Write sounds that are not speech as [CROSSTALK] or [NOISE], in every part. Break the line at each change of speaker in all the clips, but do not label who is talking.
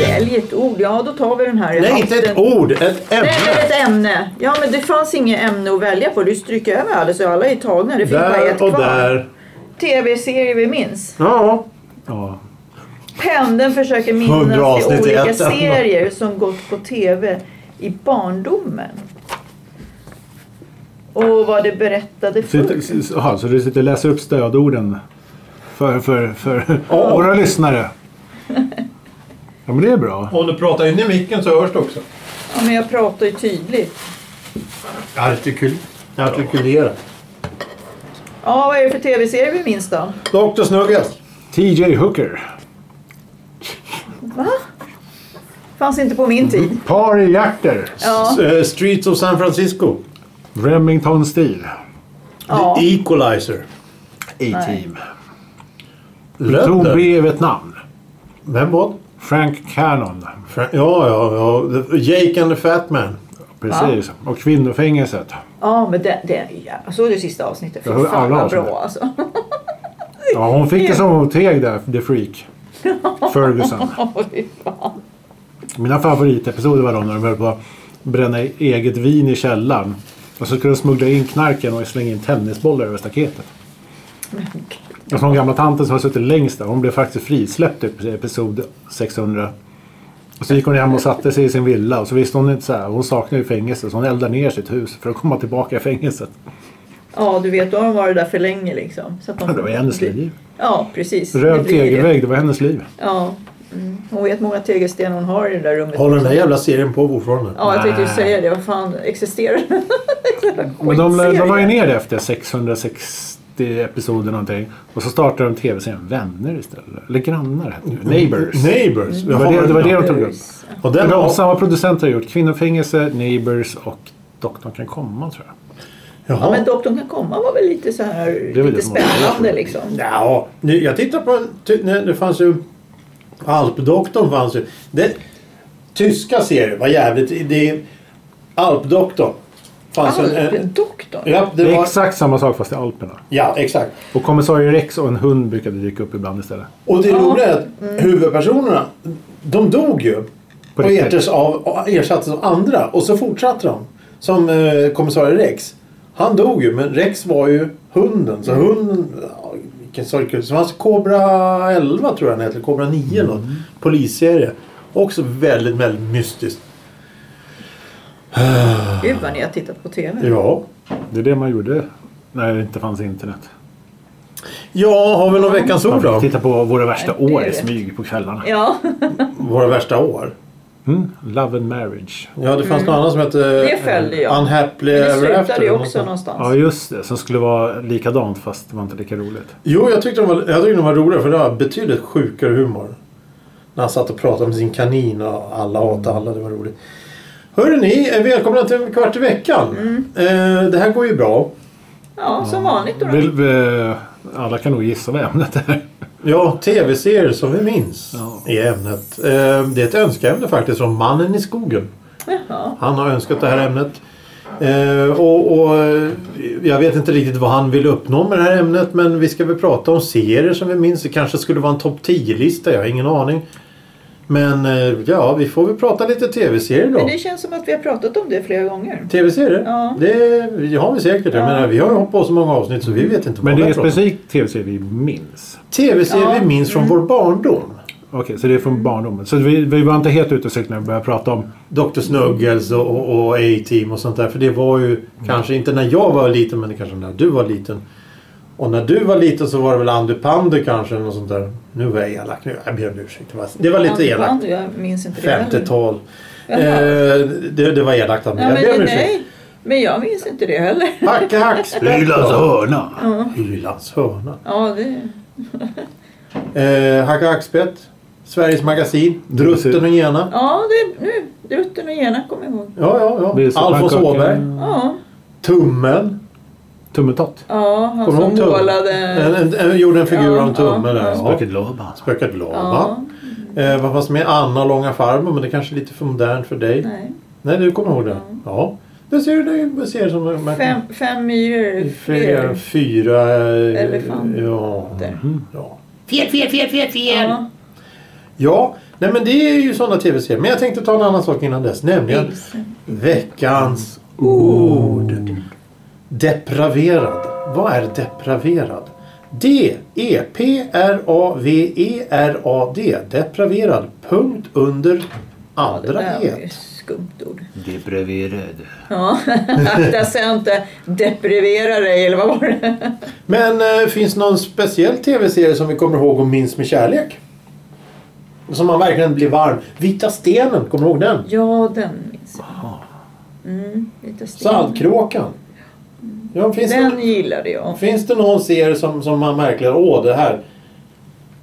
Välj ett ord. Ja, då tar vi den här. Jag har
Nej,
haft
inte ett
den.
ord, ett
Nej, men
ämne.
ett ämne. Ja, men det fanns inget ämne att välja på. Du stryker över alla, så alla är tagna. Det finns bara ett
Där och
kvar.
där.
Tv-serier vi minns.
Ja. ja.
Pendeln försöker minnas
Hundra
de
avsnitt i
olika
ett ämne.
serier som gått på tv i barndomen. Och vad det berättade
Så,
förr.
inte- så- aha, så du sitter och läser upp stödorden för, för, för
Ja.
våra lyssnare? Ja, men det är bra.
Om du pratar in i micken så hörs det också.
Ja, men jag pratar ju tydligt.
Artikul. Artikulera.
Ja, vad är det för tv-serier vi minns då?
Doktor Snuggles.
TJ Hooker.
Fanns inte på
Mm-hmm.
min tid.
Par i hjärter.
Ja,
S- eh, Streets of San Francisco.
Remington Steel.
ja.
The Equalizer.
A-Team. Zon
Lötter.
B i Vietnam.
Vem var det?
Frank Cannon.
Fra- Ja, ja, ja. The- Jake and the Fat Man.
Precis. Och Kvinnofängelset.
ja men det, det, ja. Jag såg det sista avsnittet. Fy
Jag hör
fan
alla
vad
avsnitt.
bra alltså. [LAUGHS]
Ja, hon fick det som mothägg där, The Freak. Ferguson.
Oj, fan.
Mina favoritepisoder var de när de höll på att bränna eget vin i källaren. Och så skulle de smuggla in knarken och slänga in tennisbollar över staketet. Och så den gamla tanten som har suttit längst där, hon blev faktiskt frisläppt i episod 600. Och så gick hon hem och satte sig i sin villa och så visste hon inte så här, hon saknar ju fängelse så hon eldar ner sitt hus för att komma tillbaka i fängelset.
Ja, du vet, då har de varit där för länge liksom. Så att de...
Det var hennes liv.
Ja, precis. Det
Röd
blir det.
tegelvägg, det var hennes liv.
Ja. Mm. Hon vet många tegelstenar hon har i det där rummet.
Håller den här jävla serien på fortfarande?
Ja, jag tänkte ju
Nej.
säga det. Vad fan, existerar den?
Men de, de la ju
Skitserie.
ner det efter 660 episoder någonting. Och så startade de tv-serien Vänner istället. Eller Grannar hette det. Neighbors.
Neighbors.
Det var det, det, var det de tog upp.
Neighbors.
Och
Men
den
de,
har...
samma producent har gjort Kvinnofängelse, Neighbors och Doktorn kan komma tror jag.
Ja,
Jaha.
men Doktorn kan komma var väl lite så här
väl
lite
det som var
spännande
roligt.
liksom.
Ja, nu, jag tittar på en... Ty, nej, det fanns ju... Alpdoktorn fanns ju. Det, tyska serier var jävligt... Det, Alpdoktorn. Fanns en,
Alltså, eh,
en,
Alpdoktorn?
ja, det
Det är
var,
exakt samma sak fast i Alperna.
ja, exakt.
Och kommissarie Rex och en hund brukade dyka upp ibland istället.
Och det roliga är att
Mm.
huvudpersonerna, de dog ju.
På
och,
riktigt.
ersattes av, och ersattes av andra. Och så fortsatte de. Som eh, kommissarie Rex. Han dog ju, men Rex var ju hunden.
Mm.
Så hunden... ja, Vilken sorgkul. Så fanns Kobra 11 tror jag den heter. Kobra 9 eller något. Polisserie. Också väldigt, väldigt mystiskt.
Gud vad ni har tittat på TV.
Ja.
Det är det man gjorde när det inte fanns internet.
Ja, har vi någon veckans
Man
ord
fick
då?
titta på våra värsta
Ja, det är
år i
det.
smyg på kvällarna.
Ja,
Våra värsta år.
Mm. Love and marriage.
Ja, det fanns något annat som hette...
Mm. Det följde jag.
Unhappily
men det
Ever
slutade
After.
ju
eller
också
något sånt.
någonstans.
Ja just det, som skulle vara likadant fast det var inte lika roligt.
Jo, jag tyckte de var, jag tyckte de var roliga för det var betydligt sjukare humor. När han satt och pratade med sin kanin och alla hatade alla. Det var roligt. Hörrni, eh, välkomna till Kvart i veckan. Eh, det här går ju bra.
Ja, som vanligt då.
Vill, vi- alla kan nog gissa vad ämnet är.
Ja, tv-serier som vi minns
Ja.
är ämnet. Eh, det är ett önskeämne faktiskt från Mannen i skogen.
Jaha.
Han har önskat det här ämnet. Eh, och, och, eh, jag vet inte riktigt vad han vill uppnå med det här ämnet men vi ska väl prata om serier som vi minns. Det kanske skulle vara en topp 10-lista, jag har ingen aning. Men eh, ja, vi får väl prata lite tv-serier då.
Men det känns som att vi har pratat om det flera gånger.
Tv-serier?
Ja.
Det, det har vi säkert. Jag
Ja.
menar, vi har ju hållit på så många avsnitt så vi vet inte vad
Men det
vi
är en
pratar om.
specifik tv-serie vi minns.
Tv-serier
Ja. Mm.
vi minns från vår barndom.
Okej, så det är från barndomen. Så vi, vi var inte helt ute och cyklade när vi började prata om...
Dr. Snuggles och, och, och A-Team och sånt där. För det var ju kanske inte när jag var liten men kanske när du var liten. Och när du var liten så var det väl Andy Pandy kanske eller något sånt där. Nu var jag elak. Nu, jag ber om ursäkt. Det var, det var lite
Antipan,
elakt.
Jag minns inte det heller.
50-tal. Eh,
Jaha.
det, det var elakt av mig.
Ja,
Jag ber om
men,
ursäkt.
nej, men jag minns inte det heller.
Hacke hackspett.
hörna!
Hylands hörna.
Ja, det...
Eh, Hacke hackspett. Sveriges magasin. Drutten och Gena.
Ja, det, nu. Drutten och Gena kommer jag ihåg.
Ja, ja,
Det är
ja.
så
Alfons
pannkaka.
Åberg.
Ja,
Tummen.
Tummetott.
Ja, han
Kommer du
som
ihåg Tum? En,
målade...
en, en, gjorde en figur
Ja,
av en tumme
ja,
där.
ja.
Ja.
Loba.
Spöket Lava. Eh, vad fanns med? Anna Långa Farmor, men det kanske är lite för modernt för dig. Nej,
Nej.
du kommer ihåg det? Ja. Det ser du det är en serie som... man-
Fem, fem myror
Fyra...
fler.
fyra eh,
Elefanter.
Ja.
Mhm.
ja.
Fel, fel, fel, fel, fel!
Ja.
Ja, nej men det är ju sådana tv-serier. Men jag tänkte ta en annan sak innan dess. Nämligen veckans ord. Depraverad. Vad är depraverad? E, D-E-P-R-A-V-E-R-A-D. Depraverad. Punkt under
Det
andra
där var ju
E.
ett skumt ord.
Depraverad.
Ja, [LAUGHS] akta så jag inte depriverar dig eller vad var det?
Men eh, finns någon speciell tv-serie som vi kommer ihåg och minns med kärlek? Som man verkligen blir varm. Vita stenen, kommer du ihåg den?
Ja, den minns jag. Mm, lite sten.
Saltkråkan. Ja, finns,
Den
det,
gillade jag.
finns det någon serie som, som man verkligen, åh det här.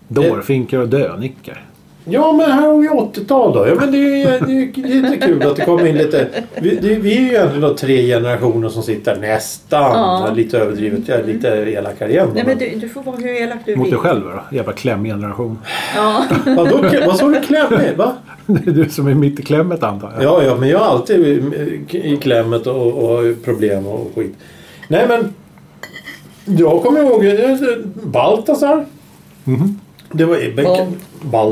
Dårfinkar och dönickar.
Ja men här har vi 80-tal då. Ja men det är ju det är ju jättekul att det kommer in lite. Vi, det, vi är ju egentligen då tre generationer som sitter nästan.
Ja. Mm.
Ja. Lite överdrivet, jag är lite elakare igen.
Nej, men du, du får vara hur elak du vill.
Mot dig själv då? Jävla klämgeneration.
[LAUGHS]
Ja.
Vadå, vad sa du klämmig? Va?
[LAUGHS] Det är du som är mitt i klämmet antar jag.
Ja, ja, men jag är alltid i- i klämmet och, och problem och skit. Nej, men jag kommer ihåg eh, Baltasar. Det var Ebbe
Bal-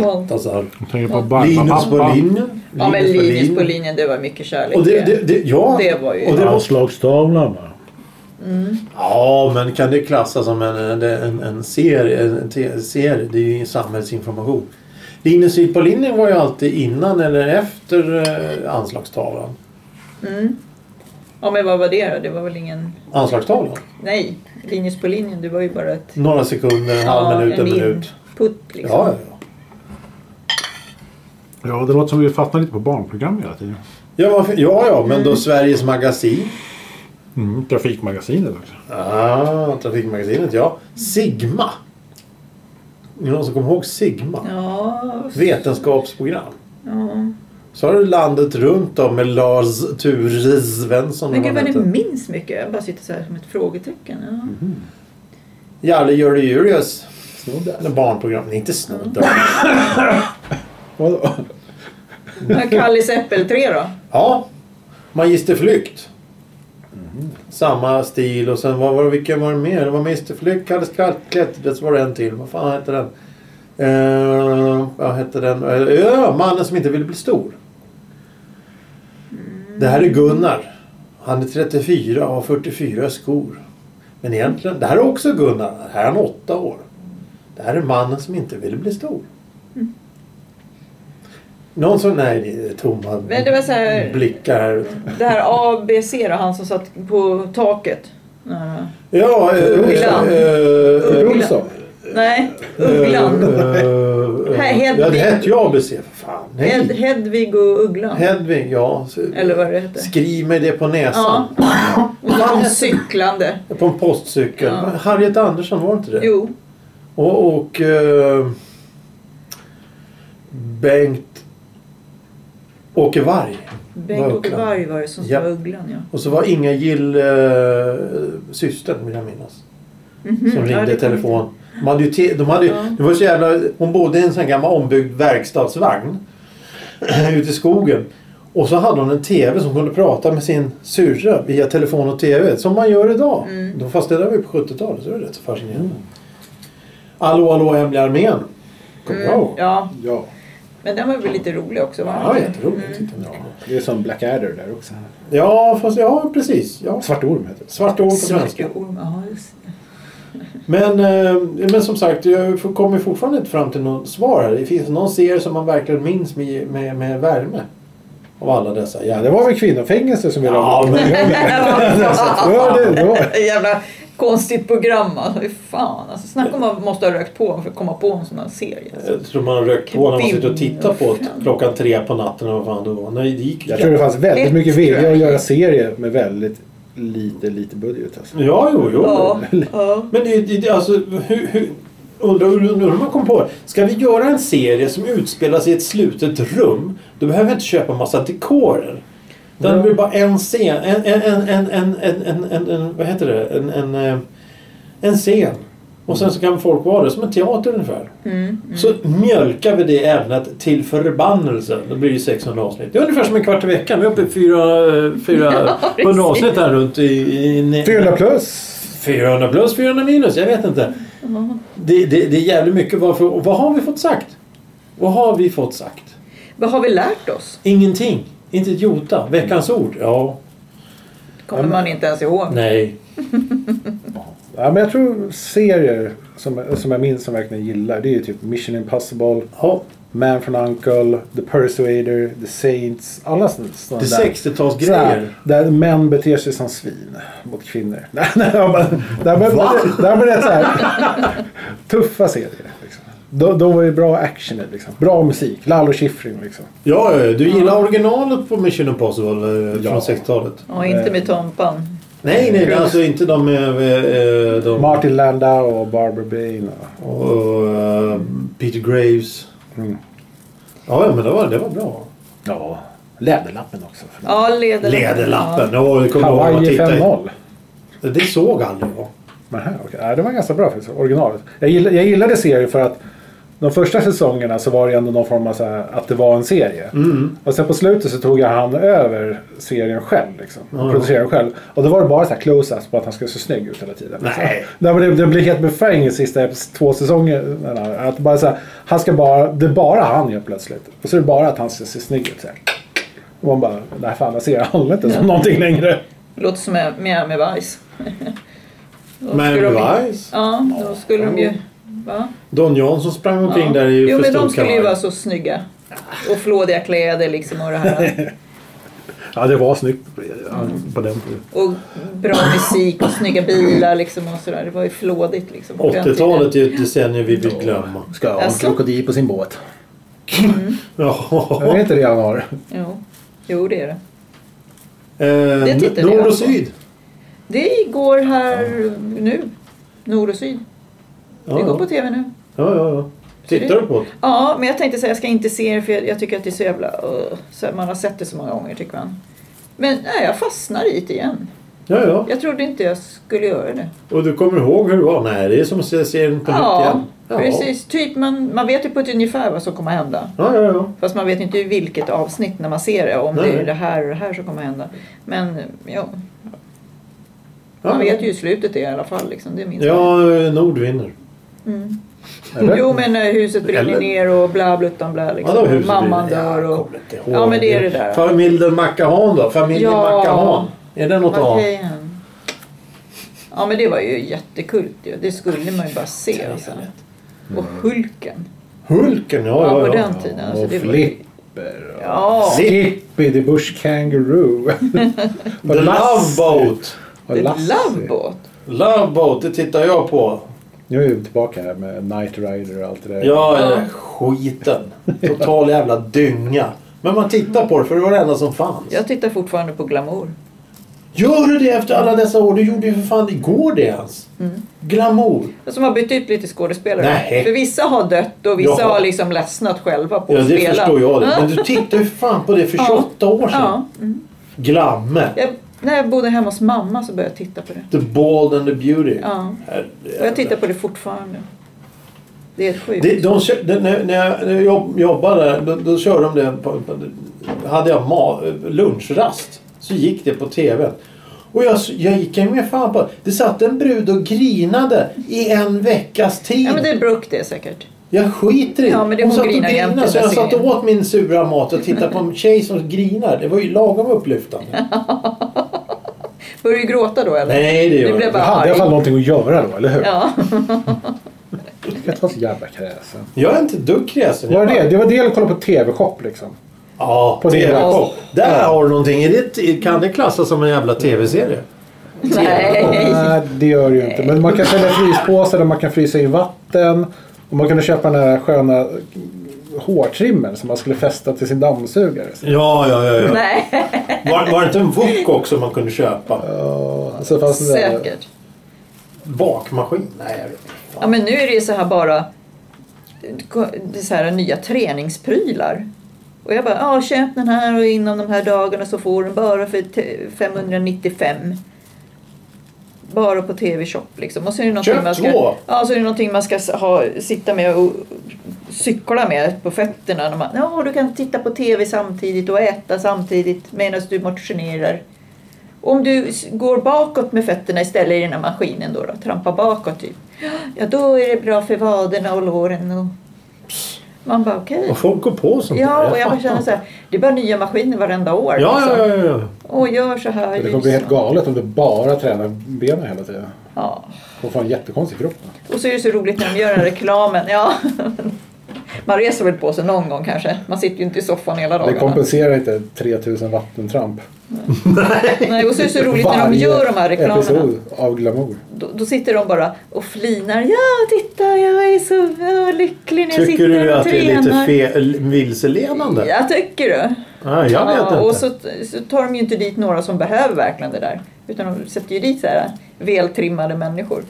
Baltasar.
Jag tänker på
Linus på
Barbapapa.
linjen.
ja, men
på
Linus på linjen, det var mycket kärlek.
Och det, det, det, ja.
Det var ju-
och det var,
Anslagstavlan va?
ja, men kan det klassas som en, en, en, en serie? En, te- serie? Det är ju samhällsinformation. Linus på linjen var ju alltid innan eller efter eh, anslagstavlan.
Ja, men vad var det då? Det var väl ingen...
Anslagstavlan?
Nej, Linus på linjen, det var ju bara ett...
Några sekunder, en halv minut, en minut.
Putt liksom.
Ja, ja, ja.
Ja, det låter som vi fastnar lite på barnprogram hela tiden.
Ja, varför- ja,
Mm.
ja, men då Sveriges magasin.
Mm, trafikmagasinet också.
Ah, Trafikmagasinet, ja. Sigma. Är det någon som kommer ihåg Sigma?
Ja,
Vetenskapsprogram.
ja.
Så har du landet runt då med Lars Ture Svensson.
Men gud vad
vad han
ni
heter. Mhm.
minns mycket. Jag bara sitter så här som ett frågetecken. Ja.
Jarle Jury Julius. Snoddas. Barnprogram. Nej, inte snoddas. Vadå?
Men Kallis äppelträ då?
ja. Magisterflykt. Samma stil och sen vad var det, vilken var det mer? Det var Magisterflykt, Kalle Skalklätt. Det var det en till. Vad fan hette den? Eh, vad hette den? Eh, ja, mannen som inte ville bli stor.
Mm.
Det här är Gunnar. Han är 34 och har 44 skor. Men egentligen, det här är också Gunnar. Här är han 8 år. Det här är mannen som inte ville bli stor.
Mm.
Någon som... Nej, det är tomma
Men det var så här-
blickar här ute.
Det här ABC då, han som satt på taket. Ja.
Ja, eh,
Ugglan.
Ugglan.
Nej,
Eh,
Ugglan. [LAUGHS] Nej, Hedvig.
Ja, det hette ju ABC för fan.
Hed,
Nej.
Hedvig och Ugglan.
Hedvig, ja. Så-
Eller vad det hette.
Skriv mig det på
Ja.
näsan.
Och så kom cyklande.
På en postcykel.
Ja.
Harriet Andersson, var det inte det?
Jo.
Och, och eh, Bengt Åke Varg.
Bengt-Åke
Ugglan.
Varg var det som
Ja.
var Ugglan ja.
Och så var Inga Gill eh, systern vill jag minnas. Som
Mhm. ja,
ringde
det
i
kan
telefon. De hade ju te, de hade, ju-
Ja.
det var så jävla, hon bodde i en sån här gammal ombyggd verkstadsvagn. [CLEARS THROAT] ute i skogen. Och så hade hon en TV som kunde prata med sin syrra via telefon och TV. Som man gör idag.
Mm.
Då, fast det där var ju på 70-talet. Så det är rätt så fascinerande. Hallå hallå hemliga armén. Kommer jag ihåg.
Eh, Ja,
Ja.
men den var väl lite rolig också va?
Ja, jätteroligt.
Mm.
tyckte jag.
Det är som Blackadder där också.
Ja, fast ja precis. Ja.
Svart orm heter det.
Svart år på svenska.
Svarta ormar, ja just det.
Men, eh, men som sagt, jag får- kommer fortfarande inte fram till något svar här. Det finns någon serie som man verkligen minns med, med, med värme. Av alla dessa.
Ja,
Ja,
det var väl kvinnofängelse som vi la
ja, men,
[LAUGHS]
[LAUGHS]
Ja, det, det var.
Jävla konstigt program alltså. Fy Fan alltså. Snacka om man måste ha rökt på för att komma på en sån här serie. Alltså.
jag tror man har rökt på när man sitter och tittar på ett- klockan tre på natten eller vad fan det var. Nej, det gick
Jag tror det fanns väldigt
Lätt,
mycket
tror jag.
vilja att göra serier med väldigt lite, lite budget. Alltså.
Ja, jo, jo.
Ja, ja.
Men det, det, det- alltså, hur, hur, undrar undrar- undrar hur man kom på det. Ska vi göra en serie som utspelar sig i ett slutet rum, då behöver vi inte köpa massa dekorer. Den blir bara en scen. En, en, en, en, en, en, en, en, en vad heter det? En, en, eh, en scen. Och sen så kan folk vara där som en teater ungefär. Så mjölkar vi det ämnet till förbannelse. Då blir det 600 avsnitt. Det är ungefär som en kvart i veckan. Vi är uppe i fyra- 400
precis.
avsnitt här runt i... i, i
400 plus.
400 plus, 400 minus. Jag vet inte. Det, det, det är jävligt mycket. Varför, och vad har vi fått sagt? Vad har vi fått sagt?
Vad har vi lärt oss?
Ingenting. Inte ett jota. Veckans ord? Ja.
Kommer man inte ens ihåg.
Nej.
Ja, men jag tror serier som, som jag minns som jag verkligen gillar det är ju typ Mission Impossible,
Ja.
Man from Uncle, The Persuader, The Saints. Alla sådana
Det är
där.
60-talsgrejer.
Sådär, där män beter sig som svin mot kvinnor. [LAUGHS] Nej, nej, jag bara- där började- Där började jag så här. Tuffa serier. Liksom. Då, då var det bra action i, liksom. Bra musik. Lalo Schifrin liksom.
Ja, ja, du gillar originalet på Mission Impossible eh,
Ja.
från 60-talet?
Ja, inte med tompan.
Nej, nej, alltså inte de med... eh, De,
Martin Landau och Barbara Bain. Och,
och, eh, Peter Graves.
Mm.
Ja, ja, men det var, det var bra.
ja, Läderlappen också.
Ja, lederlappen.
Läderlappen. Ja, det kommer jag ihåg att man
Hawaii
tittade i.
5-0.
Det såg aldrig jag.
Nähä, okej. Ja, det var ganska bra faktiskt, originalet. Jag gillade, jag gillade serien för att de första säsongerna så var det ändå någon form av så här, att det var en serie. Och sen på slutet så tog jag han över serien själv. Liksom, och
Ja.
producerade den själv. Och då var det bara så här close-ups på att han skulle se snygg ut hela tiden.
Nej.
Så, nej men det, det blev helt befängt sista två säsongerna. Att bara så här, han ska bara, det är bara han helt plötsligt. Och så är det bara att han ska se snygg ut. Så här. Och man bara, nej fan jag ser honom inte som någonting längre.
Låter som en Miami
[LAUGHS]
Vice. Då skulle de-
Mary Vice.
Ja, då skulle de ju... Va?
Don Johnson sprang omkring
Ja.
där i
Jo,
för
men
stor
de skulle ju
kavaj.
vara så snygga. Och flådiga kläder liksom och det
[LAUGHS]
här.
Ja det var snyggt på den tiden.
Och bra musik och snygga bilar liksom och sådär. Det var ju flådigt liksom. på den tiden.
80-talet är ju ett decennium vi vill glömma.
Ska ha en
Jaså?
krokodil på sin båt.
Jag
[LAUGHS]
vet
Ja.
inte det han har.
Jo. jo, det är det.
Eh,
tittar vi
Nord
på.
och syd.
Det går här nu. Nord och syd.
Ja,
Det går
ja.
på tv nu.
Ja, ja, ja. Tittar du på det?
Ja, men jag tänkte säga jag ska inte se det för jag, jag tycker att det är så jävla... Uh, så man har sett det så många gånger tycker man. Men nej, jag fastnar i det igen.
Ja, ja.
Jag trodde inte jag skulle göra det.
Och du kommer ihåg hur det var? Nej, det är som att se serien på nytt
Ja,
igen.
precis. Typ man, man vet ju på ett ungefär vad som kommer att hända.
Ja, ja, ja.
Fast man vet inte i vilket avsnitt när man ser det. Om det
Nej.
är det här och det här som kommer att hända. Men ja,
ja.
man vet ju hur slutet är i alla fall. Liksom. Det minns man.
Ja, eh, Nord vinner.
Eller?
Jo men eh, huset brinner
Eller-
ner och bla bluttan bla. Liksom.
Vadå huset
Mamman
brinner?
dör
Jag
och...
kommer inte ihåg.
Ja men det är det där.
Familjen Macahan då? Familjen
Ja.
Macahan. Är det något att ha?
Macahan. Ja men det var ju jättekult ju. Det skulle man ju bara se alltså. Och Hulken.
Hulken, Mm. ja,
Ja,
ja, ja.
på den tiden. Alltså,
och
det var ju...
Flipper. och
Ja.
Zippy the
[LAUGHS]
Bush Kangaroo. och
The Love
Lassie.
Boat.
Och
The
Lassie.
Love Boat.
Love Boat, det tittar jag på.
Nu är vi tillbaka här med Night Rider och allt det där.
Ja, ja. skiten. Total jävla dynga. Men man tittar på det för det var det enda som fanns.
Jag tittar fortfarande på Glamour.
Gör du det efter alla dessa år? Du gjorde ju för fan igår det ens.
Mm.
Glamour.
Som har bytt ut lite skådespelare.
Nej.
För vissa har dött och vissa
Ja.
har liksom ledsnat själva på
Ja,
att
det
spela.
förstår jag det. Men du tittade ju för fan på det för
Ja.
28 år sedan.
Ja.
Glamme.
Jag, när jag bodde hemma hos mamma så började jag titta på det.
The Bald and the Beauty.
Ja.
Herre-
Och jag tittar på det fortfarande. Det är helt sjukt.
Det, de, kö- det, när, när jag- när jag jobb- jobbade där, då, då körde de det. På, på, hade jag ma, lunchrast så gick det på tv. Och jag, s- jag gick ju med fan på det. satt en brud och grinade i en veckas tid.
Ja men det är Brooke det säkert.
Jag skiter i
Ja, men det- hon
satt och
grinar jämt alltså, i den
grinade så jag
där
satt och
serien.
åt min sura mat och tittade på en tjej som grinar. Det var ju lagom upplyftande.
Började du gråta då eller?
Nej, det gör
Du
jag
blev
Du
bara
hade i alla fall
arg.
någonting att göra då, eller hur? [LAUGHS]
Ja.
Jag var så jävla kräsen.
Jag är inte ett dugg kräsen.
Var det, det? det var det att kolla på TV-shop liksom.
Ja,
På din
TV-shop.
laptop.
Där har du någonting. Är det, kan det klassas som en jävla tv-serie? [LAUGHS]
Nej.
Nej, det gör det ju inte. Men man kan sälja fryspåsar där man kan frysa in vatten. Och man kunde köpa den här sköna hårtrimmen som man skulle fästa till sin dammsugare.
Ja, ja, ja. ja.
Nej.
Var, var det inte en wok också man kunde köpa?
Så fanns eh, det där-
Säkert.
Bakmaskin? Nej, jag vet inte.
Ja men nu är det ju så här bara. Det är så här nya träningsprylar. Och jag bara, ja köp den här och inom de här dagarna så får du den bara för te- 595. Bara på TV-shop liksom. Och så är det någonting
Köp
man ska,
två!
Ja, så är det någonting man ska s- ha, sitta med och cykla med på fötterna. När man, ja, du kan titta på TV samtidigt och äta samtidigt medan du motionerar. Om du s- går bakåt med fötterna istället i den här maskinen då, då trampar bakåt typ. Ja, då är det bra för vaderna och låren och... Man bara okej.
Och folk går på sånt
Ja,
där.
och jag bara
fattar
känner så här, det är bara nya maskiner varenda år.
inte. Ja,
liksom.
ja, ja, ja.
Och gör så här.
Det kommer bli helt galet om du bara tränar benen hela tiden.
Ja.
Du kommer få en jättekonstig kropp.
Och så är det så roligt när de gör den här reklamen. Ja. [LAUGHS] Man reser väl på sig någon gång kanske. Man sitter ju inte i soffan hela
Det
dagarna.
kompenserar inte 3000 vattentramp.
Nej, och så är det så roligt när de gör de här reklamerna.
episod av glamour.
Då, då sitter de bara och flinar. Ja, titta jag är så ja, lycklig när jag
Tycker
sitter
du
och
att det
tränar.
är lite fel, vilseledande?
Ja, tycker du?
Nej, jag vet
ja,
inte.
och så, så tar de ju inte dit några som behöver verkligen det där. Utan de sätter ju dit så här vältrimmade människor.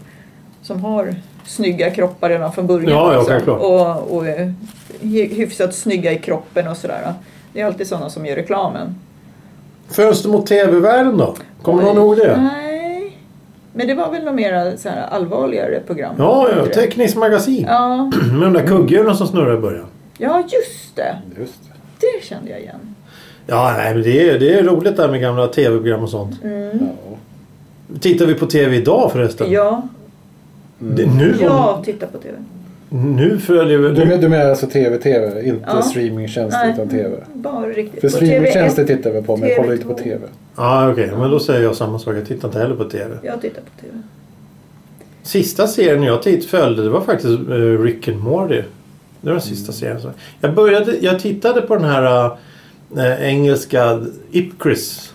Som har snygga kroppar redan från början.
Ja, ja,
liksom.
självklart.
och, och eh, hy- hyfsat snygga i kroppen och sådär. Det är alltid sådana som gör reklamen.
Fönster mot TV-världen då? Kommer någon ihåg
Mm.
det?
Nej. Men det var väl några mera så här allvarligare program?
Ja, ja.
Inte det?
Tekniskt magasin.
ja.
Med de där kugghjulen som snurrar i början.
Ja, just det.
Just det.
Det kände jag igen.
Ja, nej, men det är, det är roligt där med gamla TV-program och sånt.
Mm.
Ja.
Tittar vi på TV idag förresten?
Ja,
Det, nu,
jag tittar på TV.
nu följer vi...
Mm. Du, men- du menar alltså tv-tv, inte
Ja.
streamingtjänst
Nej.
utan tv?
Bara riktigt.
För
på TV1.
streamingtjänster tittar vi på men jag kollar inte på
TV2.
tv.
Ja, okej. Men då säger jag samma sak. Jag tittar inte heller på TV.
Jag tittar på TV.
Sista serien jag titt följde det var faktiskt eh, Rick and Morty. Det var den
Mm.
sista serien. Så Jag, började, jag tittade på den här eh, engelska Ipcris.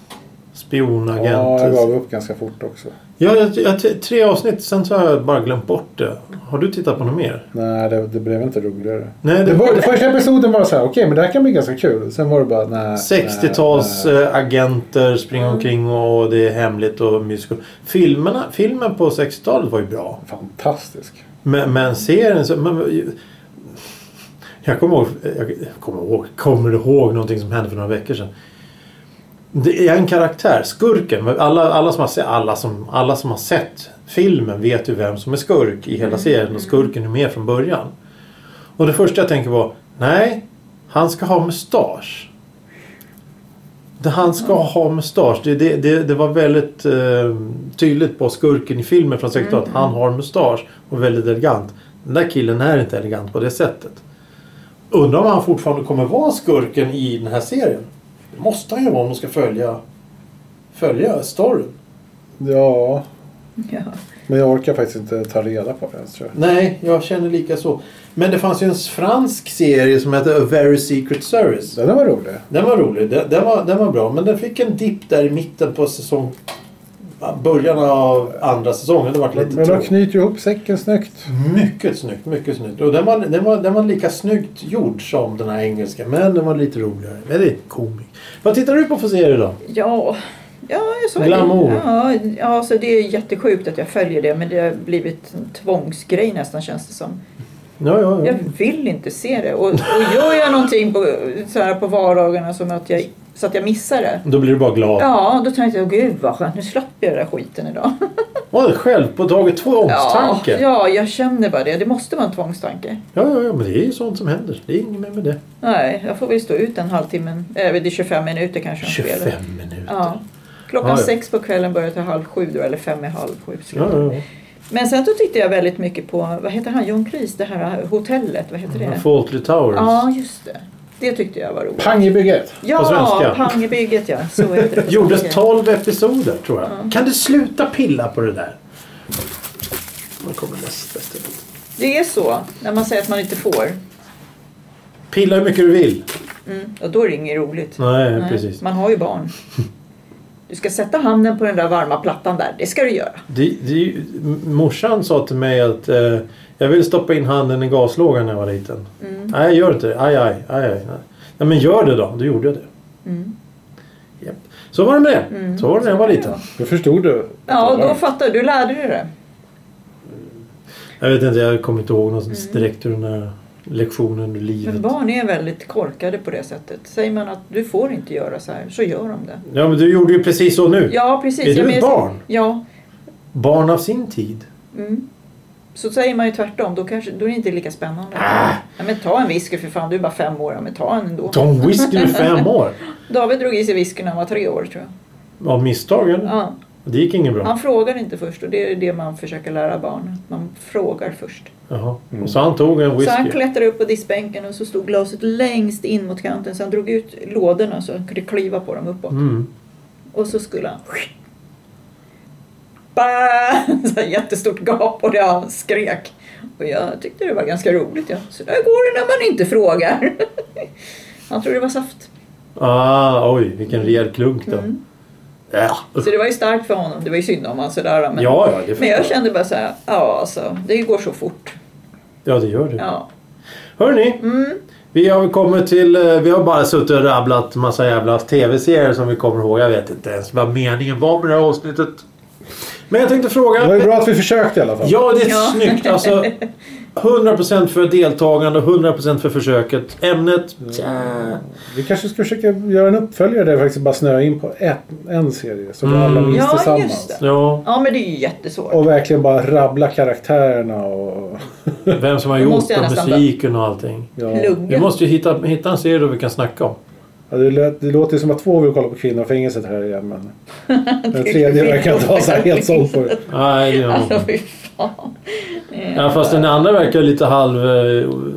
Spionagent.
Ja, jag gav upp ganska fort också.
Ja, jag, jag, tre avsnitt. Sen så har jag bara glömt bort det. Har du tittat på något mer?
Nej, det, det blev inte roligare.
Nej,
Det
det
var, första episoden var så här, okej men det här kan bli ganska kul. Sen var det bara nej.
60-tals
nej, Mm.
eh, agenter springer omkring och det är hemligt och mysigt. Filmerna, filmen på 60-talet var ju bra.
nej. Fantastisk.
Men, men serien så... Men, jag kommer ihåg, jag kommer ihåg... Kommer ihåg någonting som hände för några veckor sedan? Det är en karaktär, skurken. men Alla, alla, som, har, se- alla, som, alla som har sett filmen vet ju vem som är skurk i hela serien. Och skurken är med från början. Och det första jag tänker var, nej, han ska ha mustasch. Det han ska ha mustasch. Det, det, det, det var väldigt eh, tydligt på skurken i filmen från 60-talet. Han har mustasch och väldigt elegant. Den där killen är inte elegant på det sättet. Undrar om han fortfarande kommer vara skurken i den här serien. Det måste han ju vara om de ska följa, följa storyn.
Ja,
Ja.
men jag orkar faktiskt inte ta reda på det ens tror jag.
Nej, jag känner lika så. Men det fanns ju en fransk serie som hette A Very Secret Service.
Den var rolig.
Den var rolig. Den, den, var, den var bra. Men den fick en dipp där i mitten på säsong... Början av andra säsongen. Det var lite
Men de
tråkigt.
knyter ihop säcken snyggt.
Mycket snyggt, mycket snyggt. Och den var, den, var, den var lika snyggt gjord som den här engelska. Men den var lite roligare. Men det är komik. Vad tittar du på för serie då?
Ja, ja jag sa
Glamour.
det. Ja, ja, så det är jättesjukt att jag följer det men det har blivit en tvångsgrej nästan känns det som.
Ja, ja, ja.
Jag vill inte se det och, och gör jag någonting på, så här på vardagarna som att jag, så att jag missar det.
Då blir du bara glad.
Ja, då tänkte jag gud vad skönt, nu slapp jag den där skiten idag.
Ja. Själv på dagen två
Ja,
omstanke. Ja.
ja, jag känner bara det. Det måste vara en tvångstanke.
Ja, ja, men det är ju sånt som händer. Det är inget mer med det.
Nej, jag får väl stå ut en halvtimme, eller det är 25 minuter kanske. de spelar.
25 minuter.
Ja. Klockan
Ja, ja.
sex på kvällen börjar till halv sju då, eller fem i halv sju.
Ja, ja,
Men sen så tittade jag väldigt mycket på, vad heter han, John Kreese, det här hotellet, vad heter
ja.
det?
Faultly Towers.
Ja, just det. Det tyckte jag var roligt.
Pang i bygget.
På
Ja,
svenska.
Pangebygget ja. Så
[LAUGHS]
heter det. på
Gjordes
svenska.
12 episoder tror jag. Kan du sluta pilla på det där? Nu kommer nästa steg.
Det är så, när man säger att man inte får.
Pilla hur mycket du vill.
Mm. Och då är det inget roligt.
Nej,
Nej,
precis.
Man har ju
[LAUGHS]
barn. Du ska sätta handen på den där varma plattan där. Det ska du göra.
Det, det, är ju- m- morsan sa till mig att eh, jag ville stoppa in handen i gaslågan när jag var liten.
Mm.
Nej, gör inte det. Aj, aj, aj, aj. Nej. Nej, men gör det då. Då gjorde jag det.
Mm.
Japp. Så var det med det. Så var det när jag var liten.
Då förstod du.
Ja, och då fattar du. Du lärde dig det.
Jag vet inte, jag kommer inte ihåg något direkt hur den där lektionen i livet.
Mm. Men barn är väldigt korkade på det sättet. Säger man att du får inte göra så här, så gör de det.
Ja, men du gjorde ju precis så nu.
Ja, precis.
Är
Ja,
du
men
ett
jag-
barn?
Ja, Mm.
Barn av sin tid.
så säger man ju tvärtom. Då, kanske, då är det inte lika spännande.
Ah.
Ja, men ta en whisky för fan, du är bara fem år. Ja, men ta en ändå.
Tom Whisky är fem år.
David drog i sig whisky när han var tre år tror jag.
Av misstag eller?
Ja.
Det gick inget bra.
Han frågar inte först och det är det man försöker lära barn. Att man frågar först.
Jaha. Och så han tog en whisky.
Så han klättrade upp på diskbänken och så stod glaset längst in mot kanten. Så han drog ut lådorna så han kunde kliva på dem uppåt.
Mm.
Och så skulle han... Bam! [LAUGHS] Så här jättestort gap och det han skrek. Och jag tyckte det var ganska roligt. Ja. Så där går det när man inte frågar. [LAUGHS] Han trodde det var saft.
Ah, oj, vilken rejäl klunk då. Ja.
Mm. Så det var ju starkt för honom. Det var ju synd om honom sådär. Men,
ja, ja,
men
det förstår
jag kände bara så här, ja alltså, det går så fort.
Ja, det gör det.
Ja. Mm.
Hörrni, vi har kommit till... eh, Vi har bara suttit och rabblat massa jävla tv-serier som vi kommer ihåg. Jag vet inte ens vad meningen var med det här avsnittet. Men jag tänkte fråga...
Det var ju bra att vi försökte i alla fall.
Ja, det är
Ja.
snyggt. Alltså, 100% för deltagande och 100% för försöket. Ämnet? Tja.
Vi kanske ska försöka göra en uppföljare där vi faktiskt bara snöar in på ett, en serie. Så vi alla minns
Ja, just
tillsammans.
det.
Ja,
ja, men det är ju jättesvårt.
Och verkligen bara rabbla karaktärerna och...
vem som har
Då
gjort
måste jag
och
nästan
musiken och allting.
Ja.
Vi
Luggen.
måste ju hitta, hitta en serie då vi kan snacka om.
Ja, det, lät, det låter ju som att två vill kolla på kvinnofängelset här igen men...
[LAUGHS]
Den tredje
Det är
verkar inte ha så här helt
[LAUGHS]
såld för det.
Nej, det är nog-
[LAUGHS] Alltså [LAUGHS] fy fan.
ja, fast den andra verkar lite halv eh, o-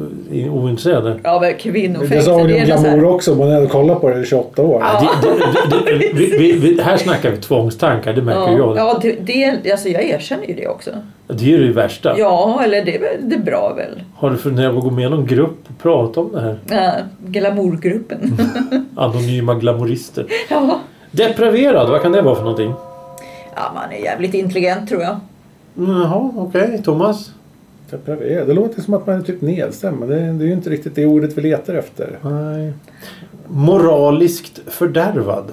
ointresserad.
Ja, men
Det
kvinnofängelse.
sa hon ju
är
om
något så här-
Glamour också, men hon hade kollat på det i 28 år.
Det, det, det, det, vi, vi, vi, här snackar vi tvångstankar, det märker ju
Ja,
jag.
ja det, det, alltså jag erkänner ju det också.
Det är ju det värsta.
Ja, eller det är väl det är bra väl.
Har du funderat på att gå med i någon grupp och prata om det här?
Äh, glamourgruppen.
Mm.
Anonyma glamourister.
[LAUGHS] ja.
Depraverad, vad kan det vara för någonting?
ja, man är jävligt intelligent tror jag.
Jaha, okej. Thomas?
Det låter som att man är typ nedstämd, men det, det är ju inte riktigt det ordet vi letar efter.
Nej. Moraliskt fördärvad.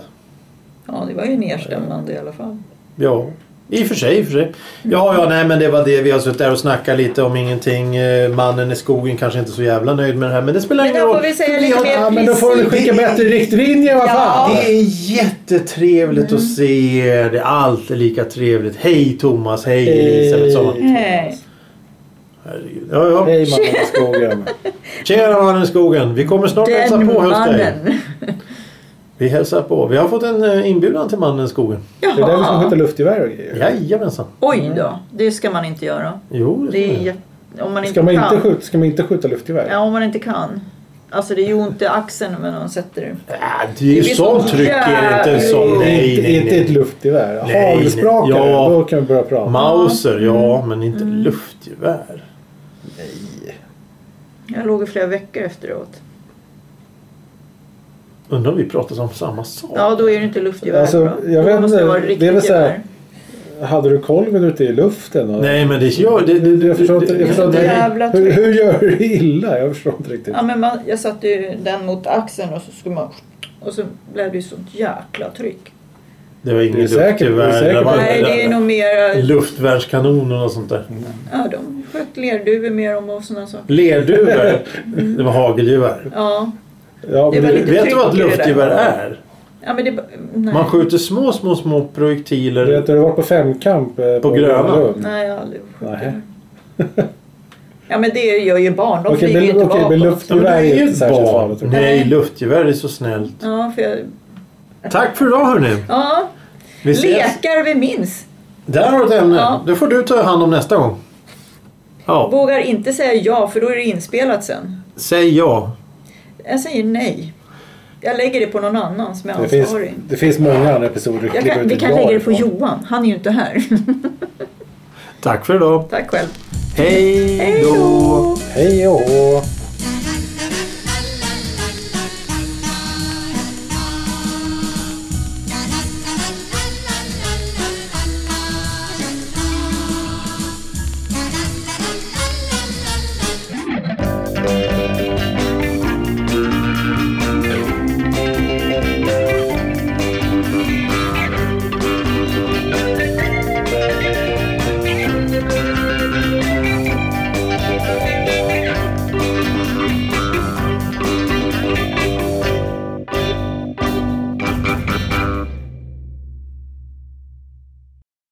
Ja, det var ju nedstämmande i alla fall.
Ja. I och för sig, i och för sig. Ja, ja, nej men det var det. Vi har suttit där och snackat lite om ingenting. Eh, Mannen i skogen kanske inte är så jävla nöjd med det här. Men det spelar
Men
ingen
då
roll.
får vi säga
för
lite
har-
mer
Ja, men då får du skicka bättre riktlinjer vad
Ja.
fan!
Det är jättetrevligt
Mm.
att se er. Det är alltid lika trevligt. Hej Thomas, hej Elisabeth. sa man.
Nej.
Herregud. Ja, ja.
Hej mannen i skogen.
Tjena mannen i skogen. Vi kommer snart hälsa
Den
på hos dig.
mannen.
Vi hälsar på. Vi har fått en eh, inbjudan till mannen i skogen.
Det är där vi ska skjuta
Jaha.
luftgevär och grejer.
Jajamensan.
Oj då, det ska man inte göra.
Jo,
Det är,
ska vi.
jätte- om man inte
Mm. Ska man
kan.
inte skjuta, ska man inte skjuta luftgevär?
Ja, om man inte kan. Alltså det gör ont i axeln när någon sätter det.
Äh, det är ju
Det blir
sånt
så
tryck är det inte
jävligt-
som... Nej,
inte,
nej,
inte ett
nej.
luftgevär.
nej.
Hagelsprakare,
Ja.
då kan vi börja prata.
Mauser,
Mm.
ja, men inte luftgevär.
Jag låg i flera veckor efteråt.
Undrar om vi pratar om samma sak?
Ja, då är det inte luftgevär.
Alltså,
va?
jag
Då
vet
måste
inte,
vara
det är
riktigt
väl så här-
gevär.
Hade du kolven ute i luften? Och...
Nej, men det... Ja, det, det,
Jag förstår inte.
det-
Jag förstår
det-
inte.
Jävla
Hur,
tryck.
hur gör du illa? Jag förstår inte riktigt.
Ja, men man, jag satte ju den mot axeln och så skulle man... Och så blev det ju sånt jäkla tryck.
Det var
Det är
inget
säkert- det Mm. är
luftgevär.
säkert-
var-
Nej, det är nog mer...
Luftvärnskanoner och sånt där.
Ja, de sköt lerduvor mer om och sådana saker.
Lerduvor. Det var hagelgevär.
Mm. Ja.
Ja,
Det
men
var
det-
lite-
Vet du vad ett
tryck i det där.
luftgevär är?
ja, men det... ba- Nej,
Man skjuter små, små, små
Vet
projektiler.
du, har du varit på femkamp eh,
På Gröna.
Lund.
nej jag har aldrig skjutit.
Nej.
[LAUGHS] Ja, men det gör ju barn. De
Okej,
flyger ju
men,
inte
okej, men
bakåt.
Ja, men
luftgevär är inte särskilt farligt. tror jag.
Nej, luftgevär är så snällt.
Ja, för jag...
Tack för idag hörni.
Ja,
Vi ses.
lekar vi minns.
Där har du ett ämne.
Ja.
Det får du ta hand om nästa gång. Ja,
Vågar inte säga ja, för då är det inspelat sen.
säg ja.
Jag säger nej. Jag lägger det på någon annan som är
Det finns,
ansvarig.
det finns många andra episoder.
Jag
Klipp
kan,
ut
vi
ett
kan
val
lägga det på
ifrån.
Johan. Han är ju inte här. [LAUGHS]
Tack för idag.
Tack själv.
Hej då.
Hej och hå.